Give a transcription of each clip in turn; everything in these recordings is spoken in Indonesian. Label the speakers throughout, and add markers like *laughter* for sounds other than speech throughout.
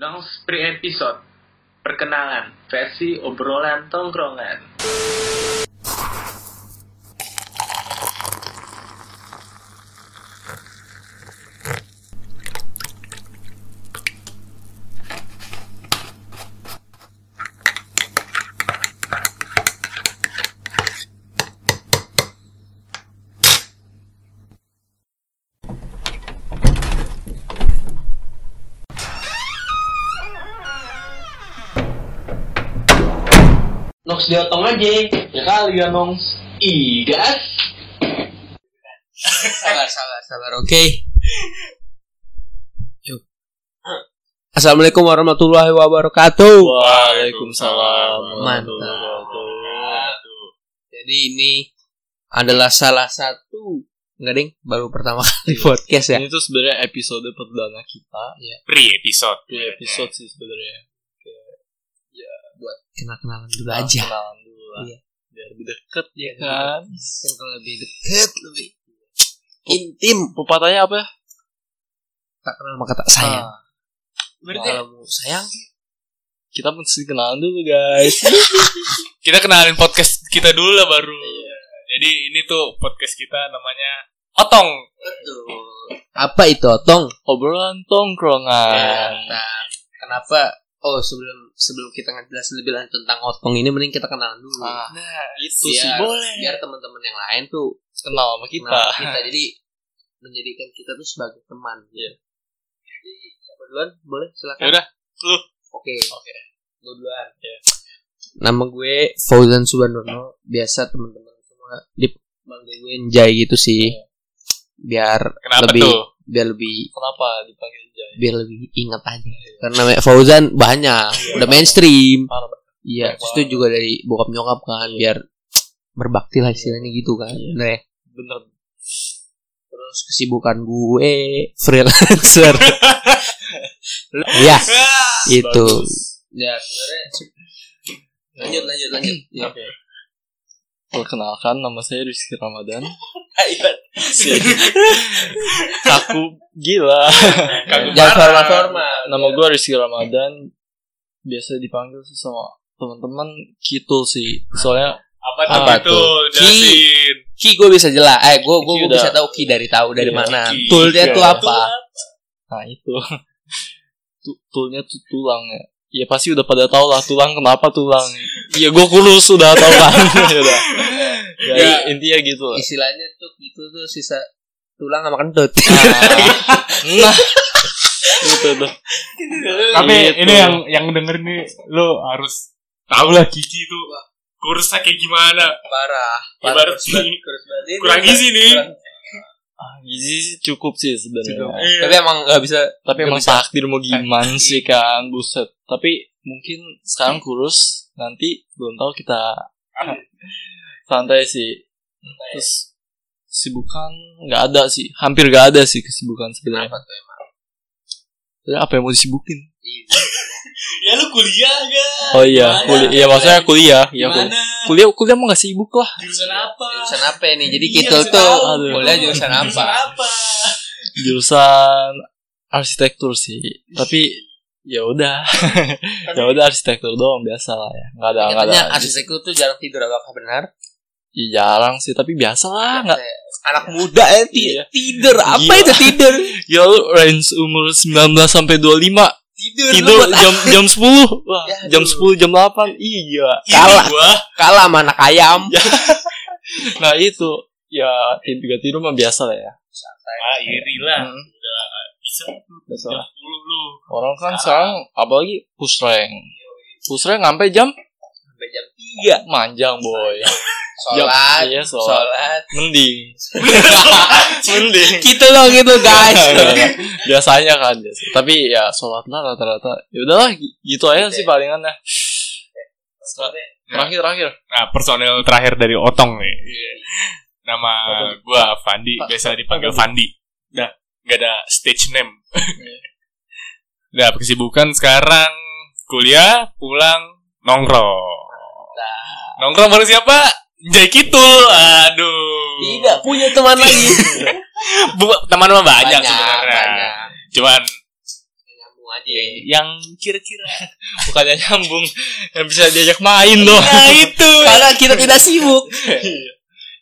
Speaker 1: Nongs Pre Episode Perkenalan versi obrolan tongkrongan
Speaker 2: Nox diotong aja ya kali ya Nox igas
Speaker 3: sabar sabar sabar oke Yuk. Assalamualaikum warahmatullahi wabarakatuh
Speaker 2: Waalaikumsalam
Speaker 3: Mantap. jadi ini adalah salah satu nggak ding baru pertama kali podcast ya
Speaker 2: ini tuh sebenarnya episode perdana kita ya
Speaker 1: Pre Episode
Speaker 2: di episode sih sebenarnya
Speaker 3: kenal kenalan dulu aja
Speaker 2: kenalan dulu lah
Speaker 3: Iya.
Speaker 2: biar lebih deket ya kan
Speaker 3: Yang lebih dekat lebih intim
Speaker 2: pepatahnya apa ya
Speaker 3: tak kenal maka tak sayang
Speaker 2: Ah,
Speaker 1: Berarti
Speaker 3: kalau mau sayang
Speaker 2: kita mesti kenalan dulu
Speaker 3: *laughs*
Speaker 2: guys
Speaker 1: kita kenalin podcast kita dulu lah baru
Speaker 2: Iya.
Speaker 1: Jadi ini tuh podcast kita namanya Otong
Speaker 3: apa itu otong
Speaker 2: obrolan tongkrongan
Speaker 3: Mantap. Nah, Kenapa? Oh sebelum sebelum kita ngejelasin lebih lanjut tentang otong ini mending kita kenalan dulu.
Speaker 2: Ah,
Speaker 1: Nah
Speaker 2: itu
Speaker 3: Biar-
Speaker 2: sih boleh
Speaker 3: iya. Biar teman-teman yang lain tuh
Speaker 2: kenal sama kita
Speaker 3: kenal kita *laughs* jadi menjadikan kita tuh sebagai teman.
Speaker 2: Iya.
Speaker 3: Jadi siapa duluan? Boleh
Speaker 4: Ya
Speaker 3: silakan.
Speaker 2: Yaudah, lu.
Speaker 3: Oke. Oke. Gue duluan. Nama gue Fauzan Subandono. Biasa teman-teman semua dipanggil gue Njay gitu sih. Biar
Speaker 1: kenapa
Speaker 3: lebih
Speaker 1: tuh?
Speaker 3: biar lebih
Speaker 2: kenapa dipanggil Jai
Speaker 3: biar lebih inget aja karena namanya Fauzan banyak udah mainstream
Speaker 2: Parah
Speaker 3: iya
Speaker 2: Banyak
Speaker 3: terus itu juga dari bokap nyokap kan biar berbakti lah istilahnya gitu kan
Speaker 2: Iya.
Speaker 3: bener ya?
Speaker 4: *laughs*
Speaker 2: bener
Speaker 3: terus kesibukan gue freelancer ya itu ya sebenarnya lanjut lanjut lanjut ya.
Speaker 2: Oke. Perkenalkan nama saya Rizky
Speaker 3: *laughs*
Speaker 2: Ramadan.
Speaker 3: Ah, iya.
Speaker 2: Aku gila.
Speaker 3: jangan hormat hormat
Speaker 2: Nama gue Rizky Ramadan. Biasa dipanggil sih sama teman-teman Kitul sih. Soalnya
Speaker 1: Apa,
Speaker 2: Apa
Speaker 3: tuh?
Speaker 1: tuh? Itu jelasin. Iya.
Speaker 3: ki gue bisa jelas eh gue gue
Speaker 2: Ki
Speaker 3: gue
Speaker 2: udah-
Speaker 3: bisa tahu ki dari tahu dari
Speaker 2: Iya,
Speaker 4: Nah,
Speaker 3: mana
Speaker 1: ki.
Speaker 3: toolnya
Speaker 2: Iya.
Speaker 3: tuh apa
Speaker 2: nah itu Tu- tulnya tuh tulang ya. Ya pasti udah pada tau lah tulang kenapa tulang. Ya gue kurus udah tau
Speaker 3: *laughs*
Speaker 2: kan. *laughs* Udah. Ya,
Speaker 3: Ya.
Speaker 2: intinya gitu lah.
Speaker 3: istilahnya tuh itu tuh sisa tulang sama kentut
Speaker 2: Nah, gitu tuh.
Speaker 4: Tapi
Speaker 2: Gitu.
Speaker 4: ini yang yang denger nih lo harus tahu lah Kiki itu kursa kayak gimana.
Speaker 3: *laughs* parah
Speaker 4: Ibarat sih kurang gizi nih.
Speaker 2: Ah, Gizi sih cukup sih sebenarnya.
Speaker 3: tapi emang nggak bisa
Speaker 2: Iya. Tapi
Speaker 3: Gak
Speaker 2: emang
Speaker 3: bisa.
Speaker 2: takdir mau gimana
Speaker 4: Eh.
Speaker 2: sih kan buset. Tapi mungkin sekarang kurus nanti belum tahu kita santai sih. Terus kesibukan nggak ada sih, hampir nggak ada sih kesibukan sebenarnya.
Speaker 3: tuh emang
Speaker 2: Jadi apa yang mau disibukin?
Speaker 3: Iya,
Speaker 1: Ya lu kuliah gak?
Speaker 2: Oh iya,
Speaker 1: Gimana?
Speaker 2: kuliah. Iya maksudnya kuliah. Iya kuliah.
Speaker 1: Gimana?
Speaker 2: Kuliah kuliah mah nggak sibuk lah.
Speaker 1: Jurusan apa?
Speaker 3: jurusan apa nih jadi
Speaker 1: Iya,
Speaker 3: kita
Speaker 1: bisa
Speaker 3: tuh
Speaker 2: tahu.
Speaker 3: kuliah jurusan
Speaker 1: Jurusan
Speaker 3: apa
Speaker 1: apa?
Speaker 2: Jurusan arsitektur sih. Tapi ya udah. *laughs* ya udah arsitektur doang biasa lah ya. Nggak ada nggak ada.
Speaker 3: katanya arsitektur tuh jarang tidur apakah benar
Speaker 2: Ya, jarang sih tapi biasa lah Ah, nggak
Speaker 3: anak muda ya ti-
Speaker 2: Iya.
Speaker 3: tidur apa
Speaker 2: Gila.
Speaker 3: itu tidur
Speaker 2: ya lu range umur 19 sampai 25
Speaker 3: tidur
Speaker 2: *laughs* tidur
Speaker 3: lu buat-
Speaker 2: jam jam 10 Wah,
Speaker 3: Ya,
Speaker 2: jam
Speaker 3: aduh.
Speaker 2: 10 jam 8 iya
Speaker 3: kalah
Speaker 1: Gua
Speaker 3: kalah sama anak ayam
Speaker 2: nah itu ya tidur tiga tidur mah biasa lah ya
Speaker 1: Ah, iri
Speaker 4: Iya.
Speaker 1: lah.
Speaker 2: Hmm,
Speaker 1: Bisa
Speaker 2: biasa lah.
Speaker 1: dulu lu.
Speaker 2: orang kan sekarang apalagi push rank push rank sampai jam
Speaker 3: sampai jam
Speaker 2: tiga Iya, manjang boy
Speaker 3: sholat
Speaker 2: iya soal
Speaker 3: sholat
Speaker 2: mending mending
Speaker 3: gitu loh gitu
Speaker 2: Iya,
Speaker 3: guys
Speaker 2: *laughs* biasanya kan biasa. tapi ya sholat lah rata-rata ya udahlah gi- gitu aja sih palingan ya terakhir terakhir
Speaker 4: Nah personel terakhir dari Otong nih. Nama gua Fandi,
Speaker 2: Pak,
Speaker 4: biasa dipanggil
Speaker 2: Pak,
Speaker 4: Fandi. Dah, gak ada stage name. *laughs* Dah, kesibukan sekarang kuliah, pulang, nongkrong. Nongkrong baru siapa? Jai Kitul. Aduh. *laughs*
Speaker 3: tidak punya teman lagi
Speaker 4: Bu- teman mah banyak,
Speaker 3: banyak
Speaker 4: sebenarnya. Cuman
Speaker 3: aja ya.
Speaker 2: yang kira-kira *laughs* bukannya nyambung yang bisa diajak main dong
Speaker 1: itu.
Speaker 3: Nah, Karena kita tidak sibuk.
Speaker 2: *laughs*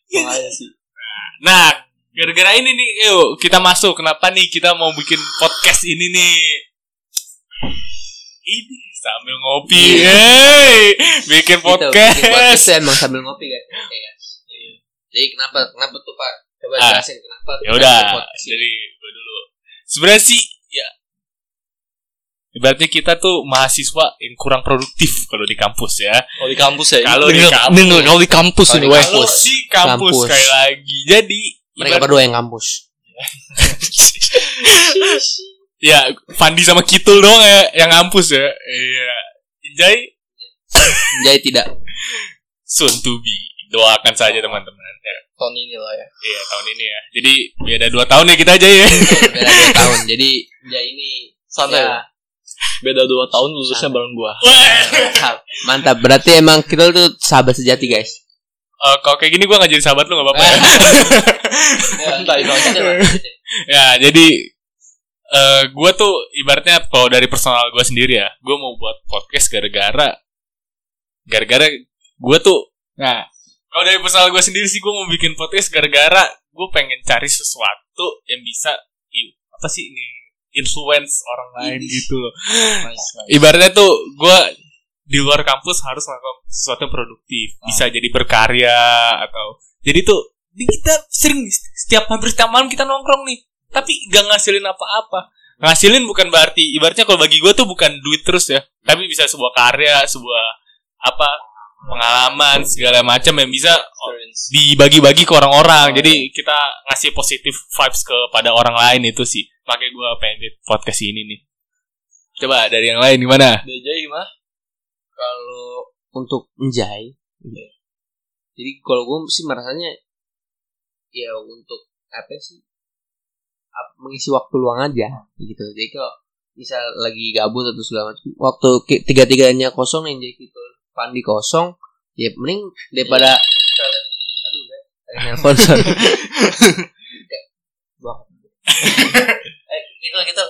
Speaker 2: makanya sih
Speaker 1: Nah, gara-gara ini nih,
Speaker 4: eh,
Speaker 1: yuk kita masuk. Kenapa nih kita mau bikin podcast ini nih? Ini sambil ngopi, hey,
Speaker 3: Gitu, bikin
Speaker 1: bikin
Speaker 3: podcast
Speaker 1: podcast.
Speaker 3: tuh emang sambil ngopi guys. Oke, guys. Jadi kenapa kenapa tuh Pak? Coba
Speaker 1: Ah.
Speaker 3: jelasin kenapa.
Speaker 1: Ya udah, jadi gue dulu. Sebenarnya sih, ya ibaratnya kita tuh mahasiswa yang kurang produktif kalau di kampus ya.
Speaker 2: kalau di kampus ya
Speaker 1: Kalau di
Speaker 2: denger,
Speaker 1: kampus.
Speaker 2: denger, kalau di kampus
Speaker 3: Kalau
Speaker 2: ini
Speaker 3: di
Speaker 2: weh
Speaker 1: Kalau di kampus,
Speaker 3: Kampus.
Speaker 1: sekali lagi. Jadi
Speaker 3: mereka berdua yang kampus.
Speaker 1: Ya, Fandi sama Kitul doang ya yang ngampus ya. Iya. Jadi
Speaker 3: Jadi tidak
Speaker 1: soon to be. Doakan saja teman-teman. Ya,
Speaker 2: tahun ini lah ya
Speaker 1: iya, tahun ini ya. Jadi beda dua tahun ya kita aja ya.
Speaker 3: beda dua tahun. Jadi ya ini
Speaker 2: santai
Speaker 3: ya,
Speaker 2: beda dua tahun lulusnya bareng gua
Speaker 1: Wah.
Speaker 3: mantap. Mantap. Berarti emang kita tuh sahabat sejati guys.
Speaker 1: Eh, kalau kayak gini gua nggak jadi sahabat lu nggak apa-apa. ya.
Speaker 2: santai
Speaker 1: *laughs* ya, jadi eh gua tuh ibaratnya kalau dari personal gua sendiri ya, gua mau buat podcast gara-gara gara-gara gua tuh nah, kalau dari personal gua sendiri sih gua mau bikin podcast gara-gara gua pengen cari sesuatu yang bisa i- apa sih ini influence orang lain gitu loh. ibaratnya tuh gue di luar kampus harus melakukan sesuatu yang produktif bisa jadi berkarya atau jadi tuh ini kita sering nih, setiap hampir setiap malam kita nongkrong nih tapi gak ngasilin apa-apa ngasilin bukan berarti ibaratnya kalau bagi gue tuh bukan duit terus ya tapi bisa sebuah karya sebuah apa pengalaman segala macam yang bisa dibagi-bagi ke orang-orang jadi kita ngasih positif vibes kepada orang lain itu sih pakai gue pengen di podcast ini nih coba dari yang lain gimana
Speaker 2: Deja gimana
Speaker 3: kalau untuk menjai Iya. jadi kalau gue sih merasanya ya untuk apa sih ap- mengisi waktu luang aja gitu jadi kalau misal lagi gabut atau segala macam waktu ki- tiga-tiganya kosong yang jadi gitu pandi kosong ya mending daripada kalian aduh guys, kalian nelfon sorry. Kayak, buang. eh gitu gitu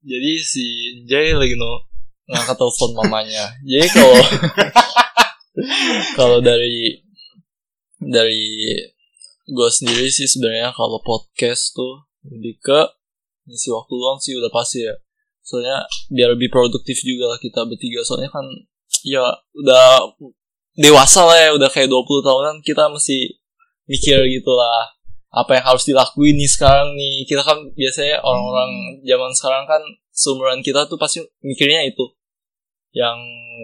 Speaker 2: jadi si Jay lagi no ngangkat telepon mamanya jadi kalau kalau dari dari gue sendiri sih sebenarnya kalau podcast tuh lebih ke ngisi waktu luang sih udah pasti ya soalnya biar lebih produktif juga lah kita bertiga soalnya kan ya udah dewasa lah ya udah kayak 20 tahunan kita mesti mikir gitu lah apa yang harus dilakuin nih sekarang nih kita kan biasanya orang-orang zaman sekarang kan seumuran kita tuh pasti mikirnya itu yang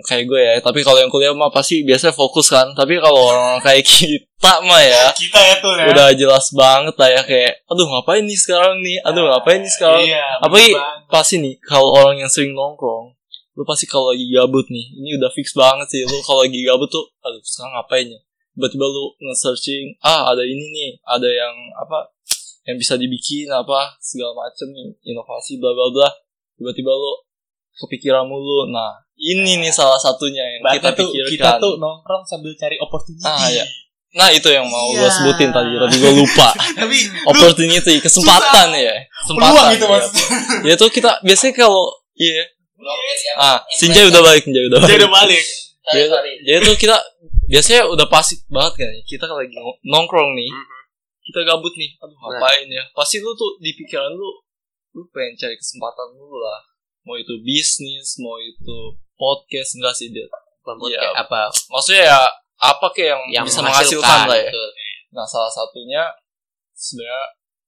Speaker 2: kayak gue ya tapi kalau yang kuliah mah pasti biasanya fokus kan tapi kalau orang kayak *laughs* kita mah ya
Speaker 4: Kita ya tuh ya.
Speaker 2: udah jelas banget lah ya kayak aduh ngapain nih sekarang nih aduh ngapain nih sekarang
Speaker 4: Iya.
Speaker 2: apa i- pasti nih kalau orang yang sering nongkrong lu pasti kalau lagi gabut nih ini udah fix banget sih lu kalau lagi gabut tuh aduh sekarang ngapain ya tiba-tiba lu nge-searching ah ada ini nih ada yang apa yang bisa dibikin apa segala macem nih inovasi bla bla bla tiba-tiba lu kepikiran mulu nah ini nih salah satunya yang
Speaker 4: Kita
Speaker 2: kita
Speaker 4: tuh
Speaker 2: pikirkan
Speaker 4: kita tuh nongkrong sambil cari opportunity.
Speaker 2: ah ya nah itu yang mau gua
Speaker 4: Iya.
Speaker 2: sebutin tadi tapi gua lupa
Speaker 4: *laughs* Tapi
Speaker 2: opportunity kesempatan ya kesempatan
Speaker 4: peluang itu
Speaker 2: ya.
Speaker 4: maksudnya.
Speaker 2: *laughs* ya tuh kita biasanya kalau iya ah Sinjai udah balik Sinjai udah
Speaker 1: Dia
Speaker 2: balik
Speaker 1: udah balik.
Speaker 3: Iya,
Speaker 2: jadi, jadi tuh kita biasanya udah pasti banget kan ya, kita lagi nong- nongkrong nih kita gabut nih aduh ngapain ya pasti lu tuh di pikiran lu lu pengen cari kesempatan lu lah mau itu bisnis mau itu podcast enggak sih dia
Speaker 3: kayak apa
Speaker 2: maksudnya ya apa kayak yang,
Speaker 3: yang
Speaker 2: bisa menghasilkan lah ya
Speaker 3: gitu.
Speaker 2: nah salah satunya sebenarnya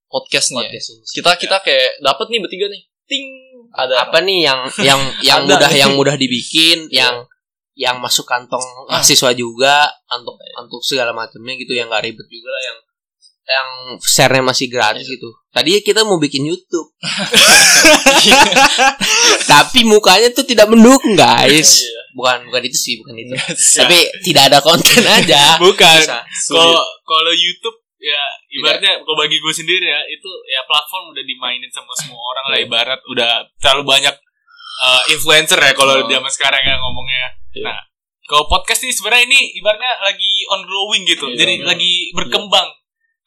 Speaker 2: podcast nih ya.
Speaker 3: Podcast ini.
Speaker 2: kita kita kayak dapat nih bertiga nih ting ada
Speaker 3: apa nih yang
Speaker 2: *laughs*
Speaker 3: yang yang
Speaker 2: Ada.
Speaker 3: mudah yang mudah
Speaker 2: *laughs*
Speaker 3: dibikin yang yang masuk kantong
Speaker 2: Ah.
Speaker 3: mahasiswa juga untuk untuk segala macamnya gitu yang gak ribet juga lah yang yang share-nya masih gratis gitu. Tadi kita mau bikin
Speaker 2: *laughs*
Speaker 3: YouTube. Tapi mukanya tuh tidak mendukung, guys.
Speaker 2: Iya.
Speaker 3: Bukan bukan itu sih, bukan itu. Tapi tidak ada konten
Speaker 2: ya, *laughs*
Speaker 3: aja.
Speaker 1: Bukan.
Speaker 3: Susah.
Speaker 1: Kalau kalau YouTube ya
Speaker 2: Iya.
Speaker 1: ibaratnya kalau bagi gue sendiri ya itu ya platform udah dimainin sama semua orang
Speaker 2: Iya.
Speaker 1: lah ibarat udah terlalu banyak uh, influencer ya
Speaker 2: Oh.
Speaker 1: kalau zaman sekarang ya ngomongnya.
Speaker 2: Iya.
Speaker 1: Nah, kalau podcast nih sebenarnya ini ibaratnya lagi on growing gitu.
Speaker 2: Iya,
Speaker 1: Jadi
Speaker 2: iya.
Speaker 1: lagi berkembang.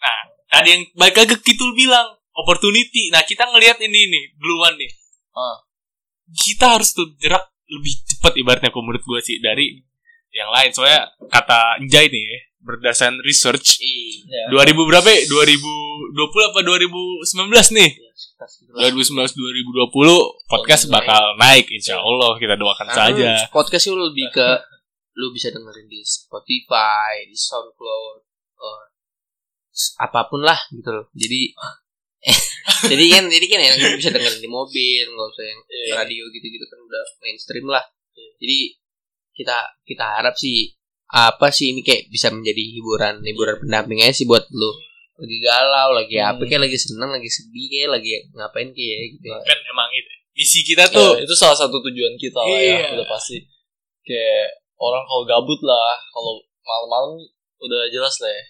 Speaker 1: Nah, tadi yang baik lagi Kitul bilang opportunity. Nah, kita ngelihat ini nih duluan nih.
Speaker 2: Ah.
Speaker 1: kita harus tuh gerak lebih cepat ibaratnya kalau menurut gue sih dari yang lain soalnya kata Njai nih ya, berdasarkan research
Speaker 2: Ya.
Speaker 1: 2000 berapa ya? 2020 apa 2019 nih
Speaker 3: Ya, sekitar segitu lah.
Speaker 1: 2019 2020
Speaker 3: Oh, iya.
Speaker 1: podcast bakal naik insya Allah kita doakan
Speaker 3: Karena
Speaker 1: saja
Speaker 3: Kan Podcast itu lebih ke lu bisa dengerin di Spotify, di SoundCloud, or s- apapun lah gitu loh. Jadi *laughs* jadi kan jadi kan enak lu bisa dengerin di mobil, nggak usah yang radio gitu-gitu kan udah mainstream lah. Jadi kita kita harap sih apa sih ini kayak bisa menjadi hiburan hiburan pendamping aja sih buat lu lagi galau, lagi apa kayak lagi seneng, lagi sedih kayak lagi ngapain kayak gitu.
Speaker 1: kan emang itu misi kita tuh
Speaker 2: Ya, itu salah satu tujuan kita lah
Speaker 1: Iya.
Speaker 2: ya udah pasti kayak orang kalau gabut lah kalau malam-malam udah jelas lah ya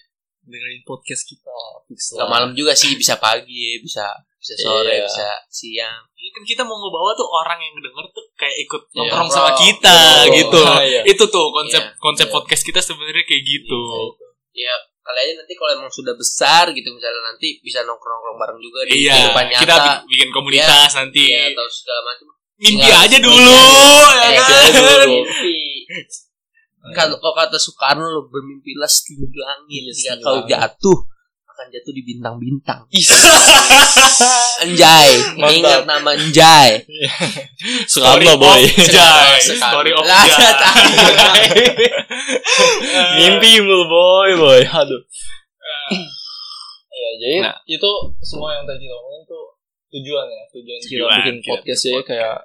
Speaker 2: dengerin podcast kita lah fix
Speaker 3: Gak
Speaker 2: lah.
Speaker 1: Oh.
Speaker 3: malam juga sih, bisa pagi, bisa bisa sore,
Speaker 2: Iya.
Speaker 3: bisa siang.
Speaker 1: Iya, kan kita mau ngebawa tuh orang yang denger tuh kayak ikut
Speaker 2: Iya,
Speaker 1: nongkrong
Speaker 2: nongkrong.
Speaker 1: sama kita
Speaker 3: Nah,
Speaker 2: Nongkrong.
Speaker 1: gitu.
Speaker 2: Ah, iya.
Speaker 1: Itu tuh konsep
Speaker 3: Iya,
Speaker 1: konsep
Speaker 2: iya.
Speaker 1: podcast kita sebenarnya kayak gitu.
Speaker 3: Ya, kali aja nanti kalau emang sudah besar gitu misalnya nanti bisa nongkrong-nongkrong bareng juga di
Speaker 1: Iya,
Speaker 3: kehidupan nyata.
Speaker 1: kita bi- bikin komunitas nanti.
Speaker 3: Iya, atau segala macam.
Speaker 1: Mimpi
Speaker 3: Tinggal-
Speaker 1: aja dulu ya
Speaker 3: Eh,
Speaker 1: kan.
Speaker 2: dulu.
Speaker 3: Mimpi. Kalau kalau kata Soekarno lo bermimpilah setinggi langit.
Speaker 2: Iya,
Speaker 3: Jika
Speaker 2: setinggi
Speaker 3: kau
Speaker 2: langit.
Speaker 3: jatuh akan jatuh di bintang-bintang.
Speaker 1: Iya.
Speaker 2: Ih,
Speaker 3: Enjay,
Speaker 2: Mantap.
Speaker 3: ingat nama Enjay.
Speaker 2: suka
Speaker 1: Story
Speaker 2: apa, boy
Speaker 1: of Jai.
Speaker 3: Soekarno.
Speaker 1: Iya, Story of
Speaker 3: Lah,
Speaker 1: Jai.
Speaker 3: *laughs* tahu.
Speaker 2: mimpimu boy boy aduh ya jadi itu semua yang tadi kita ngomongin tuh tujuan ya tujuan kita
Speaker 1: Tujuan,
Speaker 2: bikin
Speaker 1: kita
Speaker 2: podcast ya kayak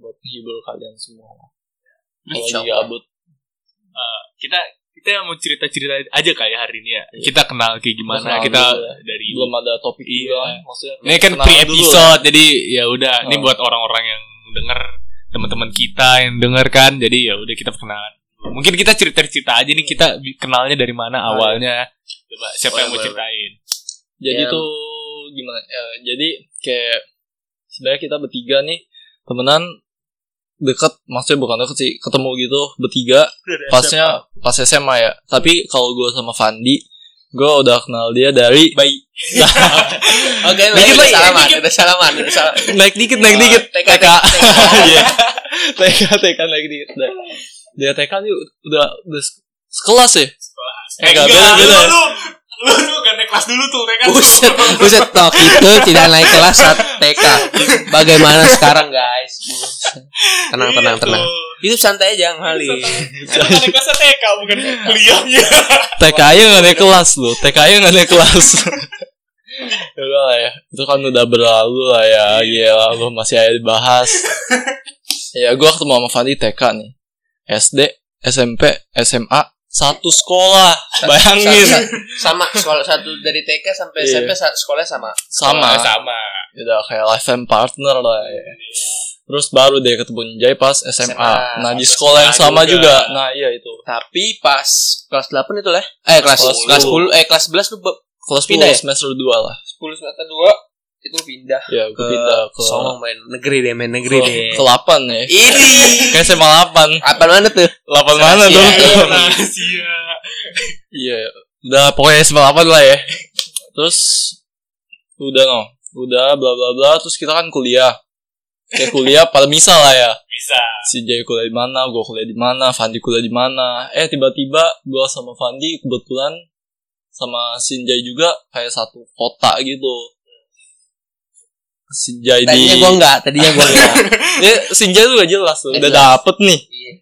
Speaker 2: buat hibur kalian semua lah kalau
Speaker 3: Insya
Speaker 1: Oh,
Speaker 2: lagi
Speaker 1: iya.
Speaker 3: Allah.
Speaker 2: gabut *laughs*
Speaker 1: Kita kita mau cerita-cerita aja kayak hari ini ya. Kita kenal kayak gimana
Speaker 2: Iya. Kenal
Speaker 1: kita
Speaker 2: dulu ya.
Speaker 1: dari
Speaker 2: belum ada topik
Speaker 1: Iya.
Speaker 2: juga kan, maksudnya
Speaker 1: Ini kan
Speaker 2: kenalan
Speaker 1: pre
Speaker 2: dulu
Speaker 1: episode jadi ya udah ini
Speaker 2: Oh.
Speaker 1: buat orang-orang yang denger teman-teman kita yang denger kan jadi ya udah kita perkenalan. Mungkin kita cerita-cerita aja nih kita bi- kenalnya dari
Speaker 2: Oh,
Speaker 1: mana
Speaker 2: iya.
Speaker 1: awalnya. Coba siapa yang mau
Speaker 3: Boleh, boleh.
Speaker 1: ceritain?
Speaker 2: jadi
Speaker 3: Yang-
Speaker 2: tuh gimana ya, jadi kayak sebenarnya kita bertiga nih temenan deket maksudnya bukan deket sih ketemu gitu bertiga pasnya pas SMA ya tapi kalau gue sama Fandi gue udah kenal dia dari
Speaker 1: Bayi.
Speaker 3: Oke, Oh,
Speaker 2: Dikit
Speaker 3: udah
Speaker 2: lagi,
Speaker 3: salaman,
Speaker 2: dikit.
Speaker 3: udah salaman, udah salaman. Oh,
Speaker 2: naik dikit naik dikit
Speaker 3: TK.
Speaker 2: TK Iya. TK TK naik dikit dah. dia TK nih udah udah se- sekelas ya
Speaker 1: Eh,
Speaker 2: Enggak,
Speaker 1: enggak,
Speaker 2: beda,
Speaker 1: lu,
Speaker 2: beda.
Speaker 1: lu, lu, lu gak naik kelas dulu tuh, ya kan? TK
Speaker 3: *laughs*
Speaker 1: tuh. *laughs*
Speaker 3: Buset, buset tok itu tidak naik kelas saat TK. Bagaimana sekarang guys? Buset. Tenang,
Speaker 1: Iya
Speaker 3: tenang,
Speaker 1: tuh.
Speaker 3: tenang. Hidup santai aja Kang Hali.
Speaker 1: Itu kan naik kelas TK, bukan kuliahnya.
Speaker 2: TK nya nggak naik kelas loh TK nya nggak naik kelas *laughs* Ya udah lah ya itu kan udah berlalu lah ya gila lu masih aja dibahas ya gua ketemu sama Fandi TK nih SD SMP SMA satu sekolah
Speaker 3: Sa-
Speaker 2: bayangin
Speaker 3: sa- Sama sekolah satu dari TK sampai
Speaker 2: Iya.
Speaker 3: SMP sa- sekolah sama.
Speaker 2: sama
Speaker 1: Sama.
Speaker 2: udah kayak lifetime partner lah ya. Terus baru deh ketemu Jai pas SMA.
Speaker 3: SMA.
Speaker 2: Nah, di sekolah yang
Speaker 1: SMA
Speaker 2: sama
Speaker 1: juga.
Speaker 2: juga. Nah, iya itu.
Speaker 3: Tapi pas kelas 8 itu lah. Eh kelas
Speaker 2: Kelas
Speaker 3: kelas 10 eh kelas 11 lu be-
Speaker 2: Kelas
Speaker 3: Pindah
Speaker 2: 10
Speaker 3: ya?
Speaker 2: semester 2 lah.
Speaker 3: 10 semester 2 itu lu pindah
Speaker 2: Ya, gue pindah ke
Speaker 3: Songong main negeri deh, main negeri
Speaker 2: ke,
Speaker 3: deh.
Speaker 2: ke 8 ya.
Speaker 3: Ih.
Speaker 2: Kayak SMA 8.
Speaker 3: Apa mana tuh?
Speaker 2: 8 mana
Speaker 3: Iya,
Speaker 2: dong?
Speaker 3: iya.
Speaker 2: *laughs*
Speaker 1: Rahasia.
Speaker 2: Iya. Udah pokoknya SMA 8 lah ya. Terus udah no. Udah bla bla bla terus kita kan kuliah. Kayak kuliah pada misal lah ya.
Speaker 1: Bisa.
Speaker 2: si Jay kuliah di mana, gue kuliah di mana, Fandi kuliah di mana. Eh tiba-tiba gue sama Fandi kebetulan sama Sinjay juga kayak satu kota gitu. Sinjay
Speaker 3: Tadinya
Speaker 2: di
Speaker 3: Nah, gua enggak, tadinya gua enggak.
Speaker 2: *laughs* Dia Sinjay tuh gak jelas tuh.
Speaker 3: Gak
Speaker 2: Udah
Speaker 3: jelas.
Speaker 2: dapet nih
Speaker 3: Iya.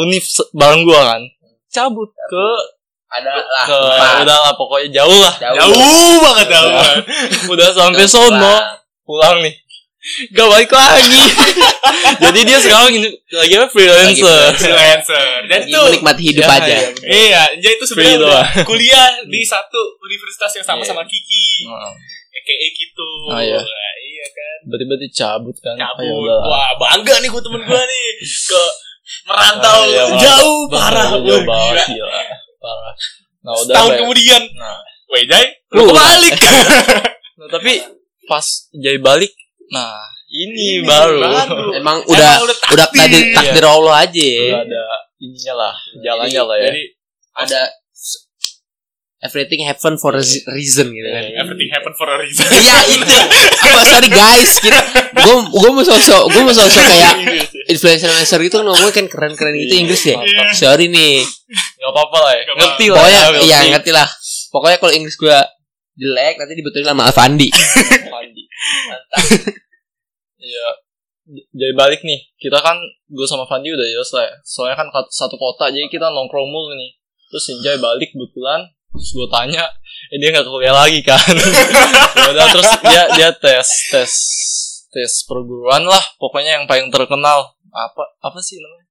Speaker 2: univ se- bareng gue kan. Cabut ke
Speaker 3: Ada lah.
Speaker 2: ke
Speaker 3: tempat.
Speaker 2: udah lah pokoknya jauh lah.
Speaker 1: Jauh banget jauh.
Speaker 2: Udah, udah sampai
Speaker 3: Jauh
Speaker 2: sono
Speaker 3: pulang.
Speaker 2: pulang nih. Gak balik lagi. Jadi dia sekarang lagi apa freelancer. *laughs*
Speaker 1: Influencer. Dan
Speaker 3: Lagi
Speaker 1: tuh
Speaker 3: menikmati hidup
Speaker 2: Ya,
Speaker 3: aja.
Speaker 2: ya, bener.
Speaker 1: Iya, dia itu sebenarnya
Speaker 2: Free
Speaker 1: udah kuliah di satu universitas yang sama sama Kiki,
Speaker 2: Heeh.
Speaker 1: EKE gitu.
Speaker 2: Ah, iya.
Speaker 1: Nah, iya kan.
Speaker 2: tiba-tiba dicabut kan Ayo,
Speaker 1: Cabut.
Speaker 2: udah lah.
Speaker 1: Wah, bangga nih gue temen gue nih ke merantau
Speaker 2: Ah, iya, Bang.
Speaker 1: jauh parah.
Speaker 2: Parah,
Speaker 1: Wah,
Speaker 2: jauh banget,
Speaker 1: gila.
Speaker 2: gila. parah nah udah
Speaker 1: Setahun
Speaker 2: Bay.
Speaker 1: kemudian.
Speaker 2: Nah.
Speaker 1: Wejai,
Speaker 2: Lu
Speaker 1: lu kebalik.
Speaker 2: Nah, tapi pas jadi balik nah ini baru
Speaker 1: baru.
Speaker 3: Emang udah
Speaker 1: Emang udah
Speaker 3: udah takdir,
Speaker 1: Iya.
Speaker 3: takdir Allah aja ya.
Speaker 2: ya. Udah ada ininya lah jalannya lah ya
Speaker 1: Jadi
Speaker 3: Ada everything happen for a z- reason gitu kan.
Speaker 2: Iya,
Speaker 4: Everything happen for a reason.
Speaker 2: *laughs*
Speaker 3: Iya itu. Apa sorry guys, kita gue gue mau sosok gue mau sosok kayak influencer influencer gitu kan ngomongnya kan keren keren gitu Inggris ya.
Speaker 4: Iya.
Speaker 3: Sorry nih.
Speaker 2: Gak apa-apa lah ya.
Speaker 4: Nggak
Speaker 2: Ngerti lah.
Speaker 3: Pokoknya
Speaker 2: ya,
Speaker 3: iya ngerti lah. Pokoknya kalau Inggris gue jelek nanti dibetulin sama
Speaker 2: *laughs*
Speaker 3: Avandi.
Speaker 2: Fandi. Mantap. Iya. J- Jadi balik nih, kita kan gue sama Fandi udah jelas lah. ya. Soalnya kan kat- satu kota, jadi kita nongkrong mulu nih. Terus Sinjai balik kebetulan, terus gue tanya, eh, dia nggak kuliah lagi kan? *laughs* Ya udah terus dia dia tes tes tes perguruan lah, pokoknya yang paling terkenal apa apa sih namanya?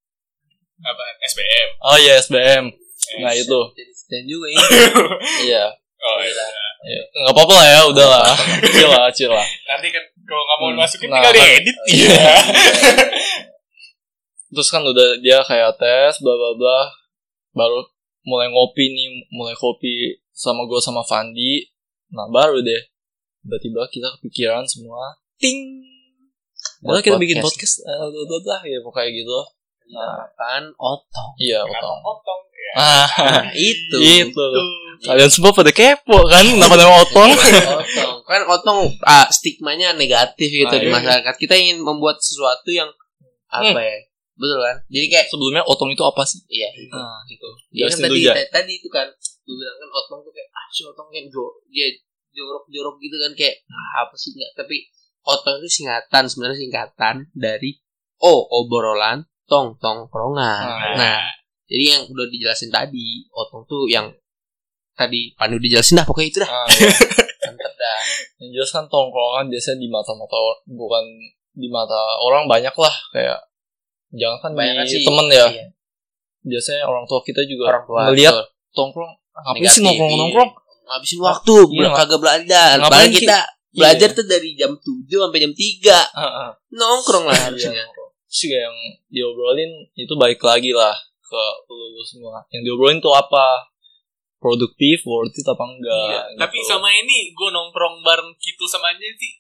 Speaker 4: Apa? SBM.
Speaker 2: Oh iya SBM. Nah itu,
Speaker 3: Dan juga ya.
Speaker 2: iya.
Speaker 4: Oh, iya.
Speaker 2: Iya. Nggak apa-apa lah ya, udah lah. Chill lah, chill lah.
Speaker 4: Nanti kan kalau nggak mau
Speaker 2: Hmm.
Speaker 4: masukin
Speaker 2: Nah,
Speaker 4: tinggal
Speaker 2: kan-
Speaker 4: diedit. Iya.
Speaker 2: *laughs* terus kan udah dia kayak tes bla bla bla baru mulai ngopi nih mulai kopi sama gue sama Fandi nah baru deh tiba-tiba kita kepikiran semua ting Udah
Speaker 3: Buat
Speaker 2: kita bikin
Speaker 3: podcast.
Speaker 2: podcast eh, bla blah blah ya pokoknya gitu
Speaker 3: Iya,
Speaker 2: nah
Speaker 3: Apaan otong.
Speaker 2: iya
Speaker 4: Potong.
Speaker 2: otong
Speaker 4: Potong. Ya.
Speaker 2: *laughs* ah
Speaker 3: *laughs* Nah, itu.
Speaker 2: itu
Speaker 4: Tuh.
Speaker 2: kalian semua pada kepo kan *laughs* kenapa nama otong
Speaker 1: Iya.
Speaker 3: otong. Kan otong ah, stigmanya negatif gitu
Speaker 2: Ah,
Speaker 3: di
Speaker 4: iya.
Speaker 3: masyarakat. Kita ingin membuat sesuatu yang apa ya? Betul kan? Jadi kayak
Speaker 2: sebelumnya otong itu apa sih
Speaker 3: iya.
Speaker 2: nah itu
Speaker 3: Iya kan
Speaker 2: Justin
Speaker 3: tadi
Speaker 2: Duja.
Speaker 3: ta- tadi itu kan gue bilang kan otong tuh kayak ah si otong kayak jo dia jorok-jorok gitu kan kayak ah, apa sih enggak tapi otong itu singkatan sebenarnya singkatan dari o obrolan tong tongkrongan.
Speaker 2: Nah,
Speaker 3: Nah, jadi yang udah dijelasin tadi otong tuh yang tadi Pandu dijelasin dah pokoknya itu dah.
Speaker 2: ah, iya.
Speaker 3: Mantep dah.
Speaker 2: *laughs* yang jelas kan tongkrongan biasanya di mata mata bukan di mata orang banyak lah kayak jangan kan
Speaker 3: Kebanyakan
Speaker 2: di
Speaker 3: sih-
Speaker 2: temen ya
Speaker 3: Iya.
Speaker 2: biasanya orang tua kita juga
Speaker 3: Orang tua.
Speaker 2: melihat tongkrong ngapain sih
Speaker 3: Negatif,
Speaker 2: nongkrong nongkrong
Speaker 3: ngabisin waktu
Speaker 2: Iya,
Speaker 3: bela-
Speaker 2: nggak-
Speaker 3: kagak belajar
Speaker 2: ngapain
Speaker 3: padahal
Speaker 2: sih?
Speaker 3: kita belajar tuh dari jam 7 sampai jam 3
Speaker 2: Heeh.
Speaker 3: nongkrong lah
Speaker 2: Iya.
Speaker 3: harusnya
Speaker 2: terus juga yang diobrolin itu balik lagi lah ke lu lu semua yang diobrolin tuh apa produktif worth it apa enggak
Speaker 1: Iya,
Speaker 2: gitu.
Speaker 1: Tapi sama ini gue nongkrong bareng gitu sama aja sih.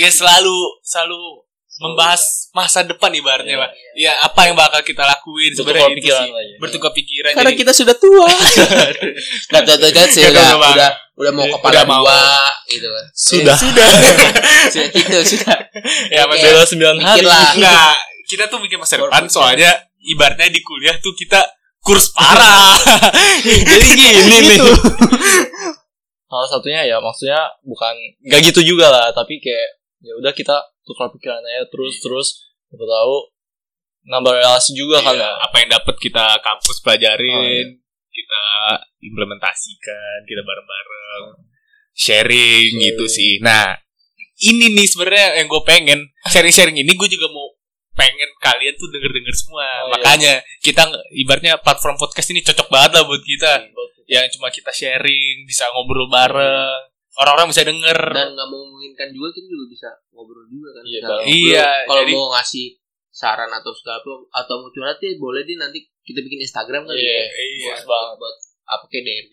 Speaker 1: Ya selalu selalu membahas masa depan
Speaker 2: ya. Iya.
Speaker 1: ibaratnya pak. Ya apa yang bakal kita lakuin
Speaker 2: bertukar
Speaker 1: sebenarnya itu
Speaker 2: pikiran
Speaker 1: sih.
Speaker 2: lagi Iya.
Speaker 1: Bertukar pikiran.
Speaker 3: karena
Speaker 1: jadi-
Speaker 3: kita sudah tua *laughs* nggak tua tua kan sih
Speaker 1: Nggak
Speaker 3: udah
Speaker 1: tua banget.
Speaker 3: udah udah mau
Speaker 1: Iya,
Speaker 3: kepala
Speaker 1: udah mau.
Speaker 3: dua gitu kan *laughs*
Speaker 2: sudah
Speaker 3: Eh, sudah gitu sudah
Speaker 1: ya
Speaker 3: Oke.
Speaker 1: maksudnya
Speaker 2: beda sembilan hari
Speaker 1: Iya.
Speaker 2: *laughs*
Speaker 3: mikir lah
Speaker 1: enggak kita tuh mikir masa depan soalnya ibaratnya di kuliah tuh kita kurs parah.
Speaker 2: *laughs*
Speaker 1: Gitu.
Speaker 2: jadi gini nih salah satunya ya maksudnya bukan nggak gitu juga lah tapi kayak ya udah kita tukar pikiran aja terus terus siapa tahu nambah relasi juga kan
Speaker 1: Iya,
Speaker 2: ya
Speaker 1: apa yang dapat kita kampus pelajarin,
Speaker 2: Oh, iya.
Speaker 1: kita implementasikan, kita bareng-bareng sharing gitu sih. Nah, ini nih sebenarnya yang gue pengen sharing-sharing ini gue juga mau pengen kalian tuh denger-denger semua.
Speaker 2: Oh, iya.
Speaker 1: Makanya kita nge- ibaratnya platform podcast ini cocok banget lah buat
Speaker 2: Iya.
Speaker 1: kita. Yang cuma kita sharing, bisa ngobrol bareng, orang-orang bisa denger.
Speaker 3: dan nggak memungkinkan juga kita juga bisa ngobrol juga kan
Speaker 2: Iya,
Speaker 3: Misalnya
Speaker 2: kalau-
Speaker 3: ngobrol.
Speaker 1: iya,
Speaker 3: kalau
Speaker 1: jadi-
Speaker 3: mau ngasih saran atau segala apa atau mau curhat ya boleh deh nanti kita bikin Instagram kali
Speaker 2: Iya,
Speaker 3: ya
Speaker 1: Iya,
Speaker 3: buat, buat, buat apa kayak DM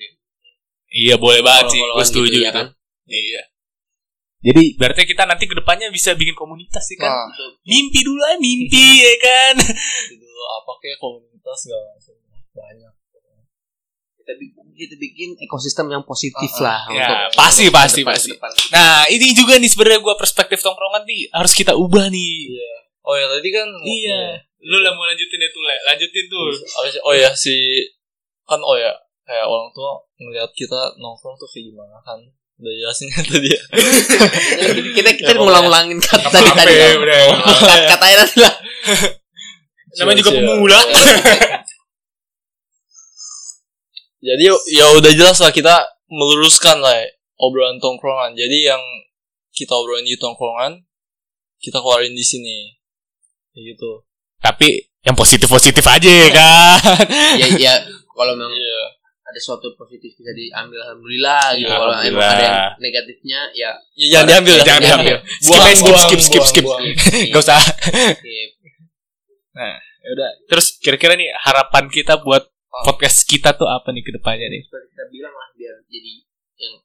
Speaker 1: Iya, boleh banget sih. Gue
Speaker 3: Follow-followan gitu,
Speaker 1: setuju
Speaker 3: ya
Speaker 1: itu.
Speaker 3: kan?
Speaker 1: Iya. Jadi berarti kita nanti kedepannya bisa bikin komunitas sih kan?
Speaker 2: Nah,
Speaker 1: Mimpi dulu aja mimpi *laughs* ya kan?
Speaker 2: itu dulu gitu, apa kayak komunitas segala macam banyak
Speaker 3: kita bikin, kita bikin ekosistem yang positif
Speaker 2: Ah,
Speaker 3: lah
Speaker 1: Ya
Speaker 3: untuk
Speaker 1: pasti pasti
Speaker 3: depan-
Speaker 1: pasti.
Speaker 3: depan.
Speaker 1: Nah ini juga nih sebenarnya gua perspektif tongkrongan nih harus kita ubah nih.
Speaker 2: iya oh ya tadi kan
Speaker 1: Iya. Lu lah mau lanjutin itu Le. lanjutin tuh.
Speaker 2: Apa sih? oh ya si kan oh ya kayak orang tua ngelihat kita nongkrong tuh kayak gimana kan udah jelasin kan tadi ya
Speaker 3: kita kita
Speaker 2: Ya, pokoknya.
Speaker 3: ngulang-ulangin kata tadi
Speaker 1: Apa
Speaker 3: tadi
Speaker 1: ya,
Speaker 3: kan.
Speaker 1: udah.
Speaker 3: Kat- katanya nanti lah
Speaker 1: *laughs* Namanya juga
Speaker 2: Siap, siap.
Speaker 1: pemula.
Speaker 2: jadi ya udah jelas lah kita meluruskan lah ya, obrolan tongkrongan jadi yang kita obrolin di tongkrongan kita keluarin di sini kayak gitu
Speaker 1: Tapi yang positif positif aja ya kan.
Speaker 3: *laughs* ya ya kalau memang
Speaker 2: iya
Speaker 3: ada suatu positif bisa diambil alhamdulillah gitu
Speaker 1: Ya,
Speaker 3: kalau emang
Speaker 1: alhamdulillah.
Speaker 3: ada yang negatifnya ya
Speaker 2: ya, jangan diambil lah.
Speaker 1: *laughs* Jangan diambil. Skip
Speaker 2: Buang,
Speaker 1: aja, skip
Speaker 2: buang,
Speaker 1: skip skip
Speaker 2: buang,
Speaker 1: skip.
Speaker 3: ya,
Speaker 2: buang.
Speaker 1: Gak usah.
Speaker 3: skip.
Speaker 2: Ya udah
Speaker 1: Terus kira-kira nih harapan kita buat podcast kita tuh apa nih kedepannya nih?
Speaker 3: Seperti kita bilang lah biar jadi
Speaker 2: Iya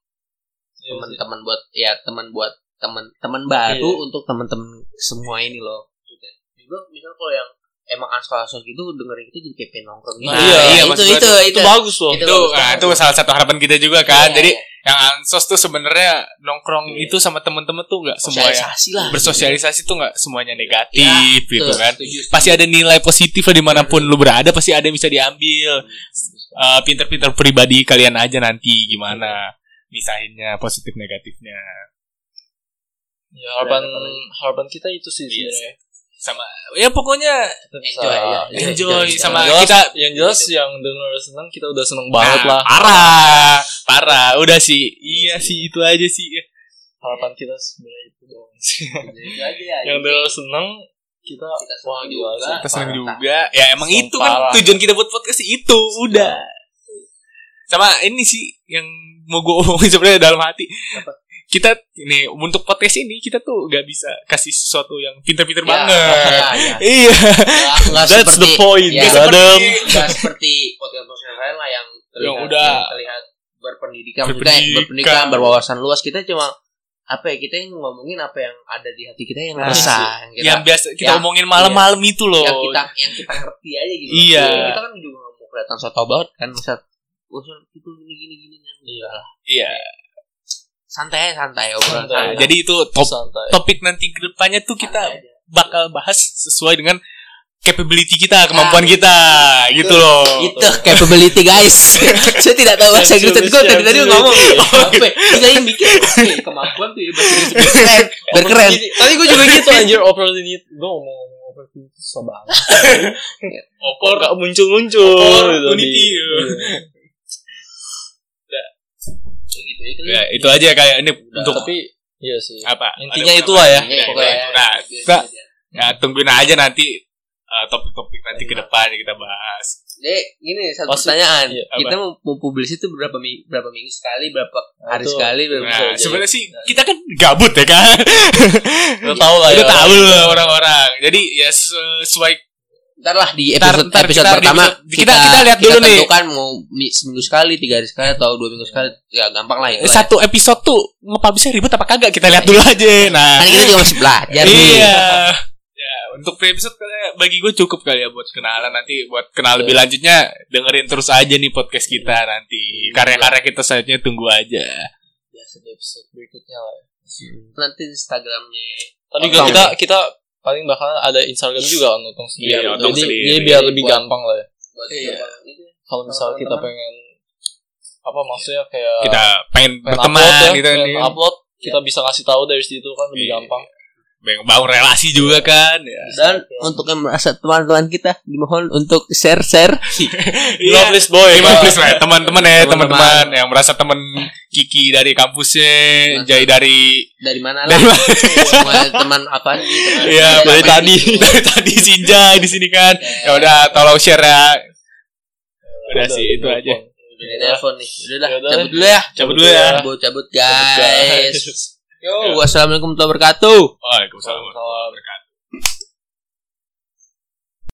Speaker 2: sih.
Speaker 3: teman-teman buat ya teman buat teman-teman baru
Speaker 2: Iya.
Speaker 3: untuk teman-teman semua ini loh Maksudnya, juga misal kalau yang emang ansos-ansos gitu dengerin kita jadi kayak pengen nongkrong gitu.
Speaker 1: Nah,
Speaker 2: iya,
Speaker 1: iya,
Speaker 3: itu,
Speaker 1: maksud
Speaker 3: itu,
Speaker 1: gua
Speaker 2: itu
Speaker 3: itu, Iya,
Speaker 2: bagus loh
Speaker 3: Itu
Speaker 1: itu nah, itu salah satu harapan kita juga kan jadi yang ansos tuh sebenarnya nongkrong
Speaker 3: Iya.
Speaker 1: itu sama temen-temen tuh nggak semuanya
Speaker 3: sosialisasi lah.
Speaker 1: bersosialisasi tuh nggak semuanya negatif gitu
Speaker 3: Betul,
Speaker 1: kan
Speaker 3: setuju.
Speaker 1: pasti ada nilai positif lah dimanapun lu berada pasti ada yang bisa diambil Eh, pinter-pinter pribadi kalian aja nanti gimana misahinnya positif negatifnya
Speaker 2: Ya, harapan harapan kita itu sih
Speaker 1: Iya
Speaker 2: sebenarnya.
Speaker 1: sama ya pokoknya
Speaker 2: Kita bisa
Speaker 3: Enjoy, ya.
Speaker 1: enjoy
Speaker 3: Enjoy,
Speaker 1: sama
Speaker 2: yang jelas,
Speaker 1: kita
Speaker 2: yang jelas yang denger senang kita udah seneng banget
Speaker 1: Nah,
Speaker 2: lah
Speaker 1: parah parah udah sih iya sih itu aja sih
Speaker 2: harapan kita sebenarnya itu doang sih.
Speaker 3: Itu aja ya.
Speaker 2: yang denger seneng kita, wah
Speaker 3: seneng
Speaker 2: gila
Speaker 3: juga. Iya,
Speaker 2: sih
Speaker 1: kita seneng juga ya emang
Speaker 2: Seneng
Speaker 1: itu kan
Speaker 2: parah.
Speaker 1: tujuan kita buat podcast itu udah sama ini sih yang mau gue omongin sebenarnya dalam hati kita ini untuk podcast ini kita tuh gak bisa kasih sesuatu yang pinter-pinter
Speaker 3: Ya,
Speaker 1: banget iya
Speaker 3: Enggak
Speaker 2: that's the point
Speaker 3: Ya,
Speaker 2: Adam
Speaker 3: Nggak seperti podcast-podcast lain lah yang terlihat,
Speaker 1: Yang udah.
Speaker 3: yang terlihat berpendidikan, berpendidikan.
Speaker 1: Berpendidikan.
Speaker 3: berpendidikan, berwawasan luas. Kita cuma apa ya? Kita yang ngomongin apa yang ada di hati kita yang
Speaker 1: Nah,
Speaker 3: resah, yang kita,
Speaker 1: yang biasa
Speaker 3: Ya,
Speaker 1: kita omongin malam-malam itu loh
Speaker 3: yang kita yang kita ngerti aja gitu.
Speaker 1: Iya.
Speaker 3: Jadi Kita kan juga nggak mau kelihatan soto banget kan, misal usul itu gini gini gini kan. Iya lah.
Speaker 1: iya
Speaker 3: Santai aja, santai obrolan.
Speaker 2: Santai.
Speaker 1: Nah,
Speaker 3: santai.
Speaker 1: jadi itu top
Speaker 2: santai
Speaker 1: topik nanti kedepannya tuh
Speaker 3: Santai
Speaker 1: kita
Speaker 3: aja.
Speaker 1: bakal bahas sesuai dengan capability kita kemampuan
Speaker 3: Ah,
Speaker 1: kita gitu loh
Speaker 3: Itu capability *laughs* guys. Saya tidak tahu bahasa Inggris tapi gue tadi tadi ngomong.
Speaker 2: *laughs*
Speaker 3: Apa? Kita yang bikin Oh, iya. *laughs* oke, kemampuan tuh ya bahasa Inggris berkeren, berkeren.
Speaker 2: tadi gue juga gitu anjir opportunity gue mau ngomong opportunity susah *laughs* banget
Speaker 1: opor
Speaker 2: gak muncul muncul
Speaker 1: opportunity.
Speaker 2: ya. Iya.
Speaker 3: Gitu, itu
Speaker 1: ya, itu aja kayak ini untuk
Speaker 2: tapi iya sih
Speaker 1: apa
Speaker 2: intinya
Speaker 1: ada-
Speaker 2: itulah ya
Speaker 1: Iya,
Speaker 2: pokoknya iya.
Speaker 1: itu. Nah, kita ya, tungguin aja nanti uh, topik-topik nanti ke depan yang kita bahas
Speaker 3: Jadi gini satu
Speaker 2: Maksud-
Speaker 3: pertanyaan.
Speaker 2: iya,
Speaker 1: apa?
Speaker 3: kita mau, mau publis itu berapa minggu, berapa minggu sekali, berapa hari
Speaker 2: Itu-
Speaker 3: sekali, berapa
Speaker 1: nah
Speaker 3: jadi-
Speaker 1: sebenarnya sih kita kan gabut ya kan
Speaker 2: udah Iya. tahu lah ya
Speaker 1: udah tahu lah orang-orang jadi ya sesuai
Speaker 3: Ntar lah di
Speaker 1: Ntar-
Speaker 3: episode,
Speaker 1: ntar
Speaker 3: episode
Speaker 1: kita-
Speaker 3: pertama
Speaker 1: di- kita- kita lihat dulu nih.
Speaker 3: tentukan mau mi- seminggu sekali, tiga hari sekali atau dua minggu sekali, ya gampang lah itu. lah
Speaker 1: satu episode tuh nge-publishnya ribet apa kagak kita lihat dulu aja nah
Speaker 3: ya. Kan kita juga masih belajar nih.
Speaker 1: iya. ya, untuk per episode kayaknya bagi gue cukup kali ya buat kenalan nanti buat kenal lebih lanjutnya dengerin terus aja nih podcast kita nanti karya-karya kita selanjutnya tunggu aja.
Speaker 2: biasa di episode berikutnya lah ya.
Speaker 3: Nanti Instagramnya
Speaker 2: Tadi juga
Speaker 3: Oke.
Speaker 2: kita kita paling bakal ada Instagram juga kan untung sendiri.
Speaker 1: Iya, untung
Speaker 2: jadi,
Speaker 1: sendiri.
Speaker 2: jadi biar lebih
Speaker 3: Buat-
Speaker 2: gampang lah ya.
Speaker 3: buat
Speaker 2: Iya.
Speaker 3: teman gitu.
Speaker 2: Kalau misal
Speaker 3: Sama
Speaker 2: kita
Speaker 3: teman-teman.
Speaker 2: pengen apa maksudnya kayak
Speaker 1: Kita pengen
Speaker 2: Eh, pengen
Speaker 1: berteman
Speaker 2: upload ya,
Speaker 1: gitu
Speaker 2: pengen
Speaker 1: nih.
Speaker 2: upload kita
Speaker 3: Iya.
Speaker 2: bisa ngasih tahu dari situ kan lebih
Speaker 1: Iya.
Speaker 2: gampang.
Speaker 1: Pengen bangun relasi juga kan
Speaker 2: Iya.
Speaker 1: ya.
Speaker 3: Dan untuk yang merasa teman-teman kita dimohon untuk *laughs* share-share
Speaker 1: Iya.
Speaker 2: please boy.
Speaker 1: Terima
Speaker 2: *laughs*
Speaker 1: please lah, teman-teman ya
Speaker 3: Teman-teman.
Speaker 1: teman-teman yang merasa temen Kiki dari kampusnya,
Speaker 3: Merasa.
Speaker 1: Jai dari
Speaker 3: dari mana lah.
Speaker 1: dari
Speaker 3: Semua teman apa nih? teman-
Speaker 1: Iya,
Speaker 3: teman
Speaker 1: dari
Speaker 3: apa
Speaker 1: tadi.
Speaker 3: nih?
Speaker 1: *laughs* dari tadi Sinja di sini kan. Ya udah tolong share ya. Udah sih itu aja.
Speaker 3: Udah di telepon nih. Udah lah,
Speaker 2: Yaudah.
Speaker 3: cabut dulu ya.
Speaker 1: Cabut dulu ya.
Speaker 3: Cabut, cabut guys. Yo, wassalamualaikum warahmatullahi wabarakatuh.
Speaker 1: Waalaikumsalam warahmatullahi wabarakatuh.